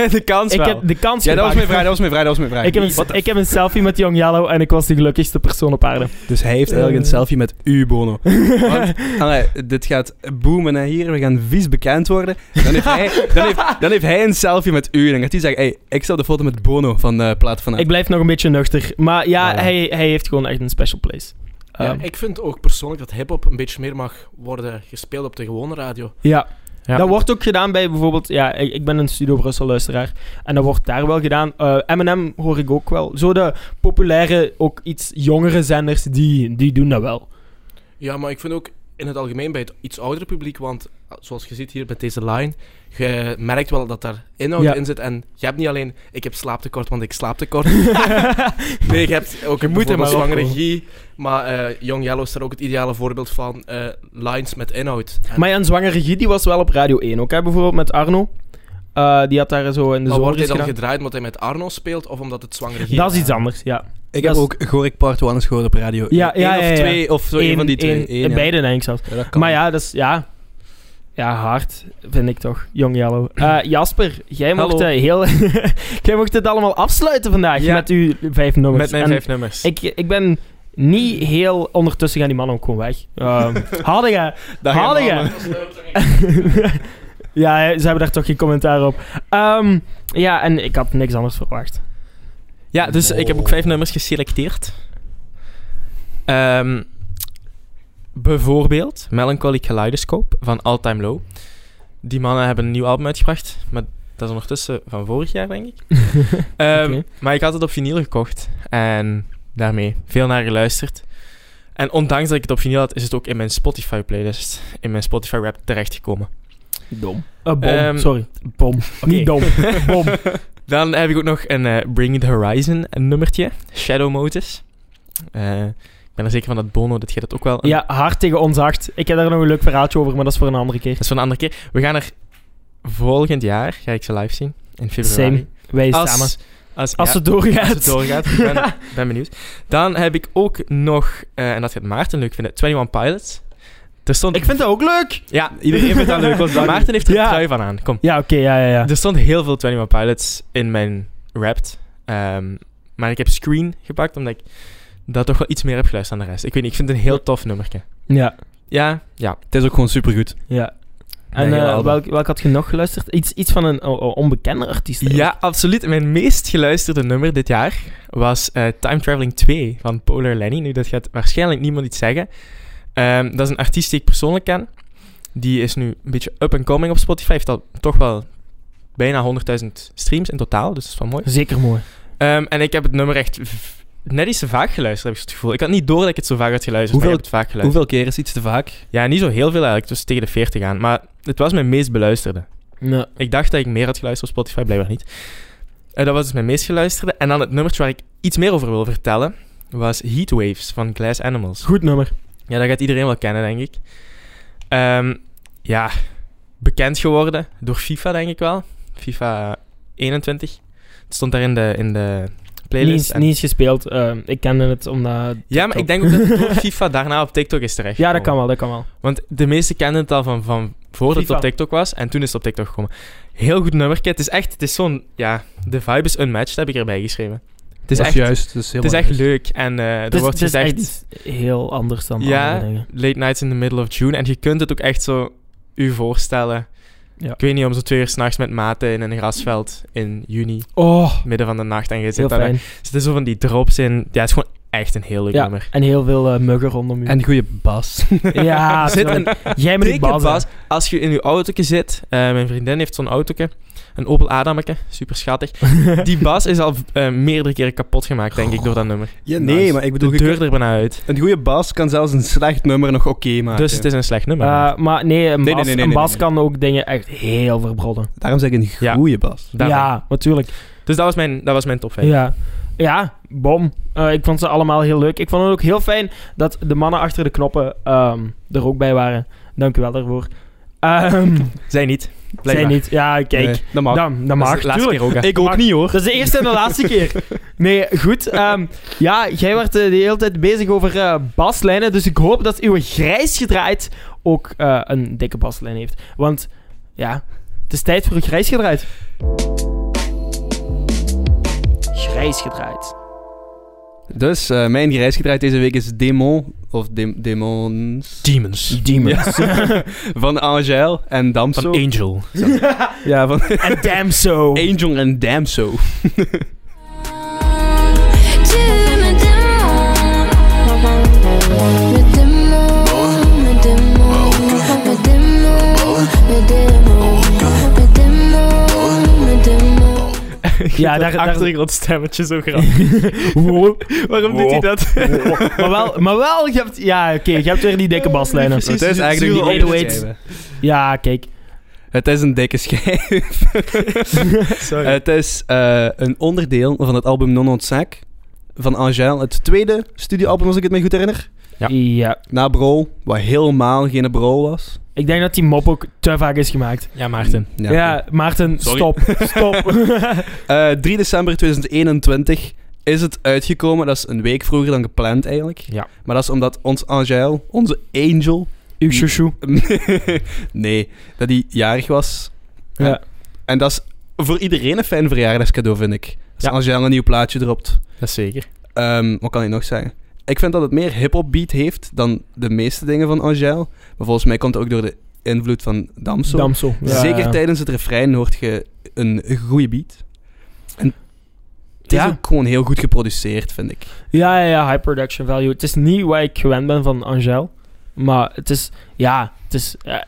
S2: de kans
S1: Ik
S2: wel.
S1: heb de kans
S3: Ja, dat was
S1: gepakt.
S3: mijn vraag, dat was mijn vraag, dat was mijn vraag.
S1: Ik heb, een, ik heb een selfie met Young Yellow en ik was de gelukkigste persoon op aarde.
S3: Dus hij heeft eigenlijk een selfie met u, Bono. Want, allee, dit gaat boomen hè, hier, we gaan vies bekend worden. Dan heeft hij, dan heeft, dan heeft hij een selfie met u. En dan gaat hij zeggen, hey, ik sta op de foto met Bono van eh Plaat van
S1: Ik blijf nog een beetje nuchter. Maar ja,
S3: Voilà.
S1: hij, hij heeft gewoon echt een special place.
S2: Ja,
S1: Ehm,
S2: ik vind ook persoonlijk dat hip-hop een beetje meer mag worden gespeeld op de gewone radio.
S1: ja.
S2: Ja.
S1: Dat wordt ook gedaan bij bijvoorbeeld... Ja, ik, ik ben een Studio Brussel luisteraar. En dat wordt daar wel gedaan. Eh, M&M hoor ik ook wel. Zo de populaire, ook iets jongere zenders, die, die doen dat wel.
S2: Ja, maar ik vind ook in het algemeen bij het iets oudere publiek, want ah, zoals je ziet hier met deze line, je merkt wel dat daar inhoud
S1: Ja.
S2: in zit. En je hebt niet alleen, ik heb slaaptekort, want ik slaap tekort. nee, je hebt ook een
S1: moet er maar
S2: zwangere
S1: opkomen.
S2: regie. Maar eh Young Yellow is daar ook het ideale voorbeeld van eh, lines met inhoud. En
S1: Maar ja, een zwangere regie, die was wel op Radio 1 ook. Hè? Bijvoorbeeld met Arno. Eh, die had daar zo
S5: dus
S1: in de
S2: maar wordt hij
S1: zomer
S2: dan
S1: gedaan.
S2: gedraaid omdat hij met Arno speelt of omdat het zwangere regie
S1: Dat is iets anders, ja. dat
S3: Ik heb
S1: is-
S3: ook Gorik Part 1 eens gehoord op radio.
S1: Ja, ja,
S3: Eén
S1: ja, ja.
S3: of twee, of zo, één
S1: Eén-
S3: van die twee.
S1: één-
S3: Eén, ja.
S1: Beide, denk ik zelfs.
S3: Ja, dat kan.
S1: Maar ja, dat is... Ja. Ja, hard, vind ik toch. Young Yellow. Eh, Jasper, jij mocht,
S2: Hallo.
S1: eh, heel, jij mocht het allemaal afsluiten vandaag
S5: Ja.
S1: met uw vijf nummers.
S5: Met mijn
S1: En
S5: vijf nummers.
S1: Ik, ik ben niet heel... Ondertussen gaan die mannen ook gewoon weg. Ehm hadden je.
S3: Dag, hè,
S1: Hadden
S3: mannen.
S1: je. ja, eh, ze hebben daar toch geen commentaar op. Ehm, ja, en ik had niks anders verwacht.
S5: Ja, dus ik heb ook vijf nummers geselecteerd. Ehm, bijvoorbeeld Melancholy Kaleidoscope van All Time Low. Die mannen hebben een nieuw album uitgebracht, maar dat is ondertussen van vorig jaar, denk ik. Ehm,
S1: Oké.
S5: Maar ik had het op vinyl gekocht en daarmee veel naar geluisterd. En ondanks dat ik het op vinyl had, is het ook in mijn Spotify-playlist, in mijn Spotify-rap terechtgekomen.
S1: Dom. Eh, bom,
S5: Ehm,
S1: sorry. Bom. Niet dom. Bom.
S5: Dan heb ik ook nog een eh, Bring It Horizon een nummertje. Shadow Motors. Eh, ik ben er zeker van dat Bono, dat jij dat ook wel...
S1: Ja, hard tegen ons hard. Ik heb daar nog een leuk verhaaltje over, maar dat is voor een andere keer.
S5: Dat is voor een andere keer. We gaan er volgend jaar, ga ik ze live zien. In februari.
S1: Same. Wij
S5: Als,
S1: samen.
S5: Als,
S1: Als
S5: ja,
S1: het doorgaat.
S5: als het doorgaat. Ik ben, ben benieuwd. Dan heb ik ook nog, eh, en dat gaat Maarten leuk vinden, 21 Pilots. Er stond...
S1: Ik vind dat ook leuk.
S5: Ja,
S3: Iedereen vindt dat leuk, want dat-
S5: Maarten heeft er
S1: Ja.
S5: een trui van aan. Kom.
S1: Ja, oké, ja, ja, ja.
S5: Er stond heel veel 21 Pilots in mijn Wrapped. Ehm, maar ik heb Screen gepakt, omdat ik dat toch wel iets meer heb geluisterd dan de rest. Ik weet niet, ik vind het een heel tof nummerke.
S1: Ja,
S5: Ja, ja.
S3: Het is ook gewoon supergoed.
S1: ja.
S5: Een
S1: En
S5: heel
S1: eh
S5: album.
S1: welk, welk had je nog geluisterd? Iets, iets van een oh, oh, onbekende artiest. eigenlijk.
S5: Ja, absoluut. Mijn meest geluisterde nummer dit jaar was eh, Time Traveling 2 van Polar Lenny. Nu, dat gaat waarschijnlijk niemand iets zeggen. Ehm, dat is een artiest die ik persoonlijk ken. Die is nu een beetje up and coming op Spotify. Heeft al toch wel bijna 100.000 streams in totaal, dus dat is wel mooi.
S1: Zeker mooi.
S5: Ehm, en ik heb het nummer echt v- net iets te vaak geluisterd, heb ik zo het gevoel. Ik had niet door dat ik het zo vaak had geluisterd, maar ik heb
S3: Hoeveel-
S5: het vaak geluisterd.
S3: Hoeveel keer is iets te vaak?
S5: Ja, niet zo heel veel eigenlijk, dus tegen de 40 aan. Maar het was mijn meest beluisterde.
S1: Ja.
S5: Ik dacht dat ik meer had geluisterd op Spotify, blijkbaar niet. Eh, dat was dus mijn meest geluisterde. En dan het nummertje waar ik iets meer over wil vertellen, was Heatwaves van Glass Animals.
S1: Goed nummer.
S5: Ja, dat gaat iedereen wel kennen, denk ik. Ehm, ja, bekend geworden door FIFA, denk ik wel. FIFA 21. Het stond daar in de, in de
S1: Niet
S5: playlist.
S1: eens,
S5: en-
S1: niet eens gespeeld. eh, ik kende het omdat...
S5: Ja, maar ik denk ook dat het door FIFA daarna op TikTok is terecht.
S1: Ja, dat kan wel, dat kan wel.
S5: Want de meesten kenden het al van, van voordat het
S1: FIFA.
S5: op TikTok was. En toen is het op TikTok gekomen. Heel goed nummerke. Het is echt, het is zo'n, ja, de vibe is unmatched, heb ik erbij geschreven. Het is,
S3: Dat
S5: echt,
S3: juist. dat is
S5: het is
S3: helemaal
S5: echt
S3: juist.
S5: leuk. En eh, er
S1: Het is,
S5: wordt
S1: het is
S5: gezegd,
S1: echt heel anders dan
S5: Ja.
S1: andere dingen.
S5: late nights in the middle of June. En je kunt het ook echt zo u voorstellen.
S1: Ja.
S5: Ik weet niet, om zo twee uur s'nachts met maten in een grasveld in juni,
S1: Oh,
S5: midden van de nacht. En je
S1: heel
S5: zit daar,
S1: fijn.
S5: zitten zo van die drops in. Ja, het is gewoon echt een heel leuk
S1: Ja,
S5: nummer.
S1: en heel veel eh, muggen rondom u.
S3: En goede bas.
S1: ja,
S5: Zit
S1: sorry.
S5: een
S1: jij met die
S5: dikke
S1: bas.
S5: bas. Als je in je autootje zit, eh, mijn vriendin heeft zo'n autootje, een Opel Adamke, super schattig.
S1: hè.
S5: Die bas is al eh, meerdere keren kapot gemaakt, denk ik, door
S1: Oh.
S5: dat nummer.
S3: Ja,
S5: Nice.
S3: nee, maar ik bedoel,
S5: De
S3: je
S5: deur er bijna uit.
S3: kunt- een goede bas kan zelfs een slecht nummer nog Ah, oké maken.
S5: Dus het is een slecht nummer.
S1: Eh, maar nee, een bas,
S3: nee, nee, nee,
S1: een bas
S3: nee,
S1: kan ook dingen echt heel verbrodden.
S3: Daarom zeg ik een
S5: Ja.
S3: goede bas.
S5: Daarvan.
S1: Ja, natuurlijk.
S5: Dus dat was mijn, dat was mijn top 5.
S1: Ja. ja, bom. Eh, ik vond ze allemaal heel leuk. Ik vond het ook heel fijn dat de mannen achter de knoppen ehm, er ook bij waren. Dank u wel daarvoor. Ehm
S5: Zij niet.
S1: zij
S5: Blijkbaar.
S1: niet. Ja, kijk.
S3: Nee, dat mag.
S1: Dan, dan
S5: Dat is
S1: mag.
S5: de laatste
S1: Nou, Tuurlijk.
S5: keer ook. hè.
S3: ik ook
S1: mag-
S3: niet hoor.
S1: Dat is de eerste en de laatste keer. Nee, goed. ehm, ja, jij werd eh, de hele tijd bezig over eh, baslijnen. Dus ik hoop dat uw grijs gedraaid ook eh, een dikke baslijn heeft. Want ja, het is tijd voor een grijs gedraaid. Grijs gedraaid.
S3: Dus eh, mijn reis gedraaid deze week is Demon, of Dem- Demons,
S5: Demons.
S1: Demons.
S3: van Angel en
S5: Van
S3: Damso.
S5: Angel.
S3: ja, van
S1: En damn so.
S3: Angel en Damso.
S1: Ja, daar, daar,
S5: Achtergrondstemmetje zo grappig. Waarom doet hij dat?
S1: maar, wel, maar wel, je hebt, ja, oké, je hebt weer die dikke baslijnen.
S5: Precies,
S3: het is
S5: zure
S3: eigenlijk niet
S1: open
S3: één
S1: weights.
S3: schijf,
S1: Ja, kijk.
S3: hè. Het is een dikke schijf.
S5: Sorry.
S3: het is eh, een onderdeel van het album Non Sac van Angel. Het tweede studioalbum, als ik het me goed herinner.
S5: Ja.
S1: Ja.
S3: Na Brol, wat helemaal geen Brol was.
S1: Ik denk dat die mop ook te vaak is gemaakt.
S5: ja, Maarten.
S1: Ja, Maarten,
S5: Sorry.
S1: stop. Stop.
S3: Eh, 3 december 2021 is het uitgekomen. Dat is een week vroeger dan gepland eigenlijk.
S5: Ja.
S3: Maar dat is omdat ons Angel, onze angel...
S1: Uw chouchou.
S3: nee, dat hij jarig was.
S1: Ja.
S3: En dat is voor iedereen een fijn verjaardagscadeau, vind ik. Als
S5: Ja.
S3: Angel een nieuw plaatje dropt.
S5: Dat is zeker.
S3: Ehm, wat kan ik nog zeggen? Ik vind dat het meer hip-hop beat heeft dan de meeste dingen van Angel. Maar volgens mij komt het ook door de invloed van Damso.
S1: Damsel. Ja,
S3: Zeker
S1: ja.
S3: tijdens het refrein hoort je een goede beat. En het
S1: Ja.
S3: is ook gewoon heel goed geproduceerd, vind ik.
S1: Ja, ja, ja, high production value. Het is niet wat ik gewend ben van Angel. Maar het is, ja, het is... ja,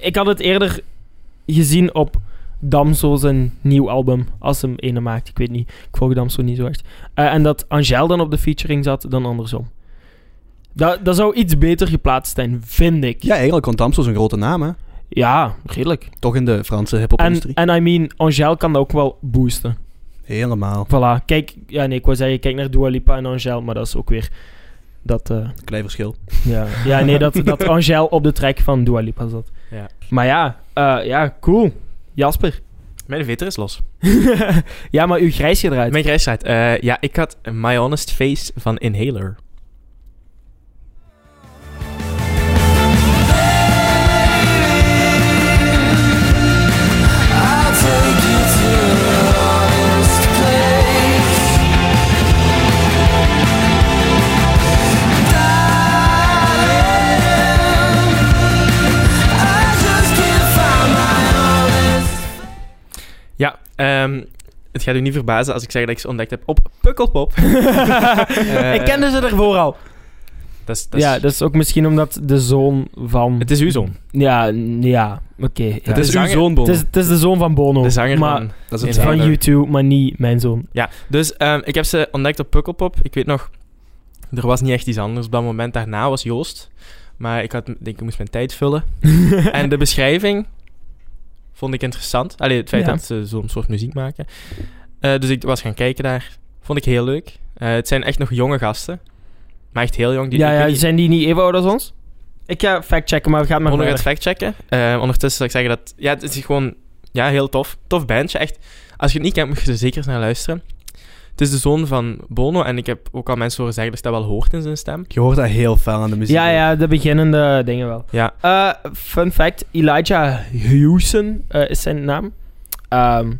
S1: ik had het eerder gezien op Damso zijn nieuw album. Als hem ene maakt, ik weet niet. Ik volg Damso niet zo echt. Eh, en dat Angel dan op de featuring zat, dan andersom. Dat, dat zou iets beter geplaatst zijn, vind ik.
S3: Ja, eigenlijk, want Damso is een grote naam, hè.
S1: Ja, redelijk.
S3: Toch in de Franse
S1: En,
S3: hip-hop-industrie.
S1: en I mean, Angel kan dat ook wel boosten.
S3: Helemaal.
S1: Voilà, kijk, ja nee, ik wou zeggen, kijk naar Dua Lipa en Angel, maar dat is ook weer dat, eh,
S3: Klein verschil.
S1: ja. ja nee, dat, dat Angel op de track van Dua Lipa zat.
S5: Ja.
S1: Maar ja, eh, ja, cool. Jasper.
S5: Mijn veter is los.
S1: ja, maar uw grijsje eruit.
S5: Mijn grijsheid. Eh, ja, ik had My Honest Face van Inhaler. Ja, ehm, het gaat u niet verbazen als ik zeg dat ik ze ontdekt heb op Pukkelpop. Eh,
S1: ik kende ze ervoor al.
S5: Dat is, dat is-
S1: ja, dat is ook misschien omdat de zoon van...
S5: Het is uw zoon.
S1: Ja, n- ja, oké. ja.
S3: Het is
S5: de
S3: uw
S5: zanger-
S3: zoon, Bon.
S1: het, is, het is de zoon van Bono.
S5: De zanger
S1: maar,
S5: van...
S3: Dat is
S1: van
S5: Ja.
S3: het feit.
S5: Inhaler.
S1: YouTube, maar niet mijn zoon.
S5: Ja, dus ehm, ik heb ze ontdekt op Pukkelpop. Ik weet nog, er was niet echt iets anders. Op dat moment daarna was Joost. Maar ik, had, ik denk, ik moest mijn tijd vullen. en de beschrijving vond ik interessant. Allee, het feit
S1: Ja.
S5: dat ze zo'n soort muziek maken. Eh, dus ik was gaan kijken daar. Vond ik heel leuk. Eh, het zijn echt nog jonge gasten. Maar echt heel jong. Die,
S1: ja,
S5: ik weet
S1: ja,
S5: niet-
S1: zijn die niet even oud als ons? Ik ga factchecken, maar we gaan maar
S5: Onder het
S1: verder.
S5: factchecken. Eh, ondertussen zal ik zeggen dat... Ja, het is gewoon ja, heel tof. Tof bandje, echt. Als je het niet kent, moet je er zeker eens naar luisteren. Het is de zoon van Bono. En ik heb ook al mensen horen zeggen dat je dat wel hoort in zijn stem.
S3: Je hoort dat heel fel aan de muziek.
S1: Ja, ja, de beginnende dingen wel.
S5: Ja.
S1: Eh, fun fact, Elijah Houston eh, is zijn naam. Ehm,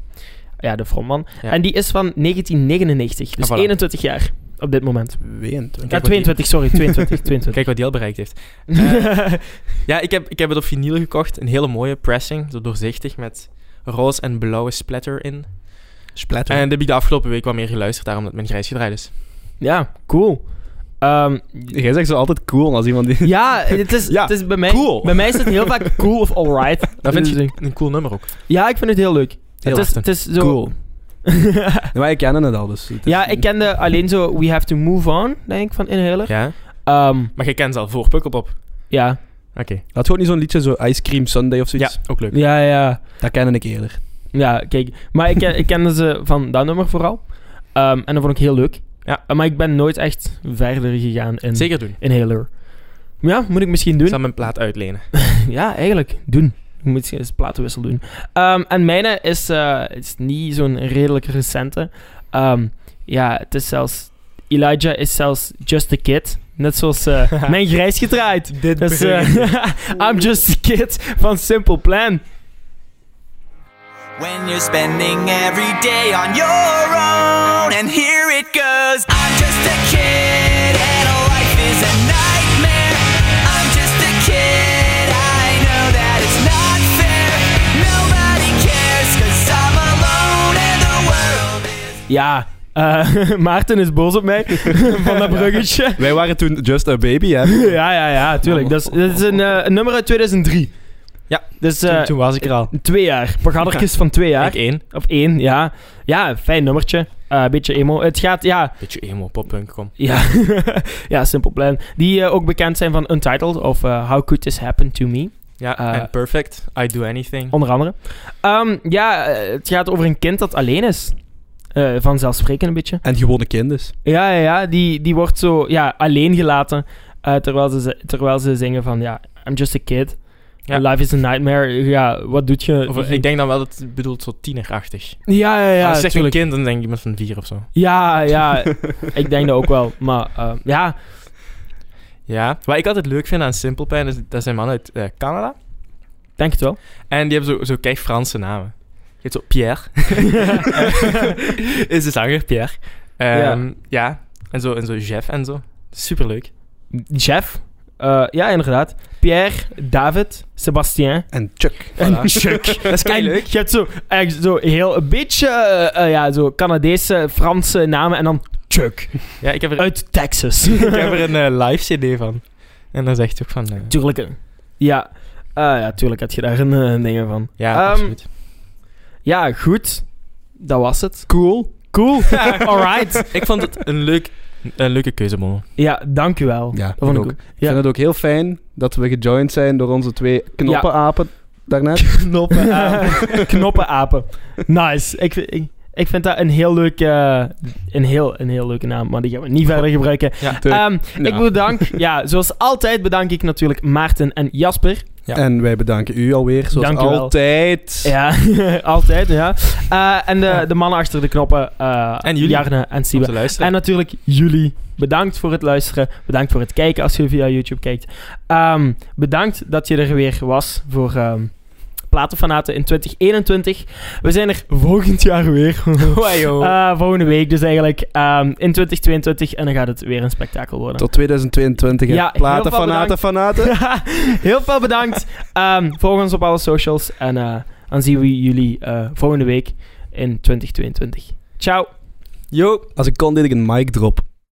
S1: ja, de frontman.
S5: Ja.
S1: En die is van 1999, dus
S5: Ah, voilà.
S1: 21 jaar op dit moment.
S3: Weend.
S1: Ja,
S5: wat die-
S1: 22, sorry, 22, 22.
S5: Kijk wat die al bereikt heeft. Eh, ja, ik heb, ik heb het op vinyl gekocht. Een hele mooie pressing. Zo doorzichtig met roze en blauwe splatter in.
S3: Splatter.
S5: En dat heb ik de afgelopen week wat meer geluisterd. Daarom dat mijn grijs gedraaid is.
S1: Ja, cool. Ehm,
S3: Jij zegt zo altijd cool als iemand die...
S1: ja, het is,
S3: Ja,
S1: het is bij mij...
S5: cool.
S1: Bij mij is het heel vaak cool of alright.
S5: Dat vind
S1: Dus-
S5: je een cool nummer ook.
S1: Ja, ik vind het heel leuk.
S5: Heel
S1: het, is,
S5: hard, hè.
S1: het is zo...
S3: Cool. Ja, maar ik ken het al, dus... het is-
S1: ja, ik kende alleen zo We Have To Move On, denk ik, van Inhaler.
S5: Ja.
S1: Ehm,
S5: Maar je kent ze al voor Pukkelpop. Oké.
S1: ja.
S3: Had gewoon niet zo'n liedje, zo Ice Cream Sunday of
S5: Ja,
S3: zoiets?
S5: ook leuk.
S1: Ja, ja.
S3: Dat kende ik eerder.
S1: Ja, kijk. Maar ik, ken- ik kende ze van dat nummer vooral. Ehm, en dat vond ik heel leuk.
S5: Ja.
S1: Eh, maar ik ben nooit echt verder gegaan in
S5: Zeker doen.
S1: Inhaler. Ja, moet ik misschien doen.
S5: Ik zal mijn plaat uitlenen.
S1: Ja, eigenlijk. Doen. Je moet eens platenwissel doen. Ehm, en mijne is, eh, is niet zo'n redelijk recente. Ehm, ja, het is zelfs... Elijah is zelfs just a kid. Net zoals eh, mijn grijs gedraaid.
S5: Dit
S1: Dus, eh, I'm just a kid van Simple Plan.
S6: When you're spending every day on your own, and here it goes. I'm just a kid, and life is a nightmare. I'm just a kid, I know that it's not fair. Nobody cares, cause I'm alone, and the world is.
S1: Ja, eh, Maarten is boos op mij van dat bruggetje.
S3: Wij waren toen Just a Baby, hè?
S1: Ja, ja, ja, tuurlijk. Dat is, dat is een, eh, een nummer uit 2003.
S5: Ja,
S1: dus
S5: toen,
S1: eh,
S5: toen was ik er al.
S1: twee jaar. Pagaddertjes van twee jaar.
S5: Ik één.
S1: Of één, ja. Ja, fijn nummertje. Eh, Een beetje emo. Het gaat, ja...
S5: Beetje emo, poppunk, kom.
S1: Ja, ja Simple Plan. Die eh, ook bekend zijn van Untitled of eh, How Could This Happen To Me,
S5: Ja,
S1: Eh,
S5: en Perfect. I Do Anything.
S1: onder andere. Ehm, ja, eh, het gaat over een kind dat alleen is. Eh, vanzelfsprekend een beetje.
S3: En gewone kind dus.
S1: Ja, ja, ja. Die, die wordt zo ja, alleen gelaten eh, terwijl, ze, ze- terwijl ze zingen van... Ja, I'm just a kid.
S5: Ja.
S1: Life is a nightmare. Ja, wat doet je?
S5: Of, eh, ik denk dan wel dat het bedoelt zo tienerachtig.
S1: Ja, ja, ja.
S5: Als je zegt een
S1: tuurlijk.
S5: kind, dan denk je iemand van vier of zo.
S1: Ja, ja. ik denk dat ook wel. Maar eh, ja...
S5: Ja. Wat ik altijd leuk vind aan Simple Plan is dat zijn mannen uit eh, Canada.
S1: Denk het wel.
S5: En die hebben zo, zo kijk Franse namen. Je hebt zo Pierre. is de zanger Pierre. Ehm, ja. En zo, en zo Jeff en zo. Superleuk.
S1: Jeff. Eh, ja, inderdaad. Pierre, David, Sebastien.
S3: En Chuck.
S1: En Chuck. Dat is leuk. Je hebt zo, eh, zo heel een beetje eh, eh, ja, zo Canadese, Franse namen en dan Chuck.
S5: Ja, ik heb er,
S1: Uit Texas.
S5: ik heb er een eh, live cd van. En dan zegt hij ook van... eh,
S1: tuurlijk. eh, Ja. Eh, ja, tuurlijk had je daar een eh, ding van.
S5: ja,
S1: Ehm,
S5: absoluut.
S1: Ja, goed. Dat was het.
S3: Cool.
S1: Cool. Alright.
S5: Ik vond het een, leuk, een leuke keuze, Mono.
S1: Ja, dank u wel.
S3: Ja,
S1: dat vond
S3: ik
S1: ik
S3: ook.
S1: ook.
S3: Ik vind het ook heel fijn dat we gejoined zijn door onze twee knoppenapen daarnet.
S1: Knoppen, apen. Knoppen apen. Nice. Ik, ik, ik vind dat een heel leuke, eh, een heel, een heel leuke naam, maar die gaan we niet verder gebruiken.
S5: Ja.
S1: Ehm,
S3: Ja.
S1: Ik bedank, ja, zoals altijd bedank ik natuurlijk Maarten en Jasper.
S5: Ja.
S3: En wij bedanken u alweer, zoals
S1: Dank u wel.
S3: altijd.
S1: Ja, altijd, ja. Eh, en de, de mannen achter de knoppen, eh,
S5: En jullie.
S1: Jarne en
S5: Om
S1: Siebe.
S5: te luisteren.
S1: En natuurlijk jullie. Bedankt voor het luisteren. Bedankt voor het kijken als je via YouTube kijkt. Ehm, bedankt dat je er weer was voor ehm Platenfanaten in 2021. We zijn er volgend jaar weer. Eh, volgende week dus eigenlijk. ehm, in 2022. En dan gaat het weer een spektakel worden.
S3: Tot 2022. hè.
S1: Ja, heel
S3: Platen,
S1: veel
S3: fanaten,
S1: bedankt.
S3: fanaten.
S1: Heel veel bedankt. Ehm, volg ons op alle socials. En eh, dan zien we jullie eh, volgende week in 2022. Ciao.
S5: Yo.
S3: Als ik kon, deed ik een mic drop.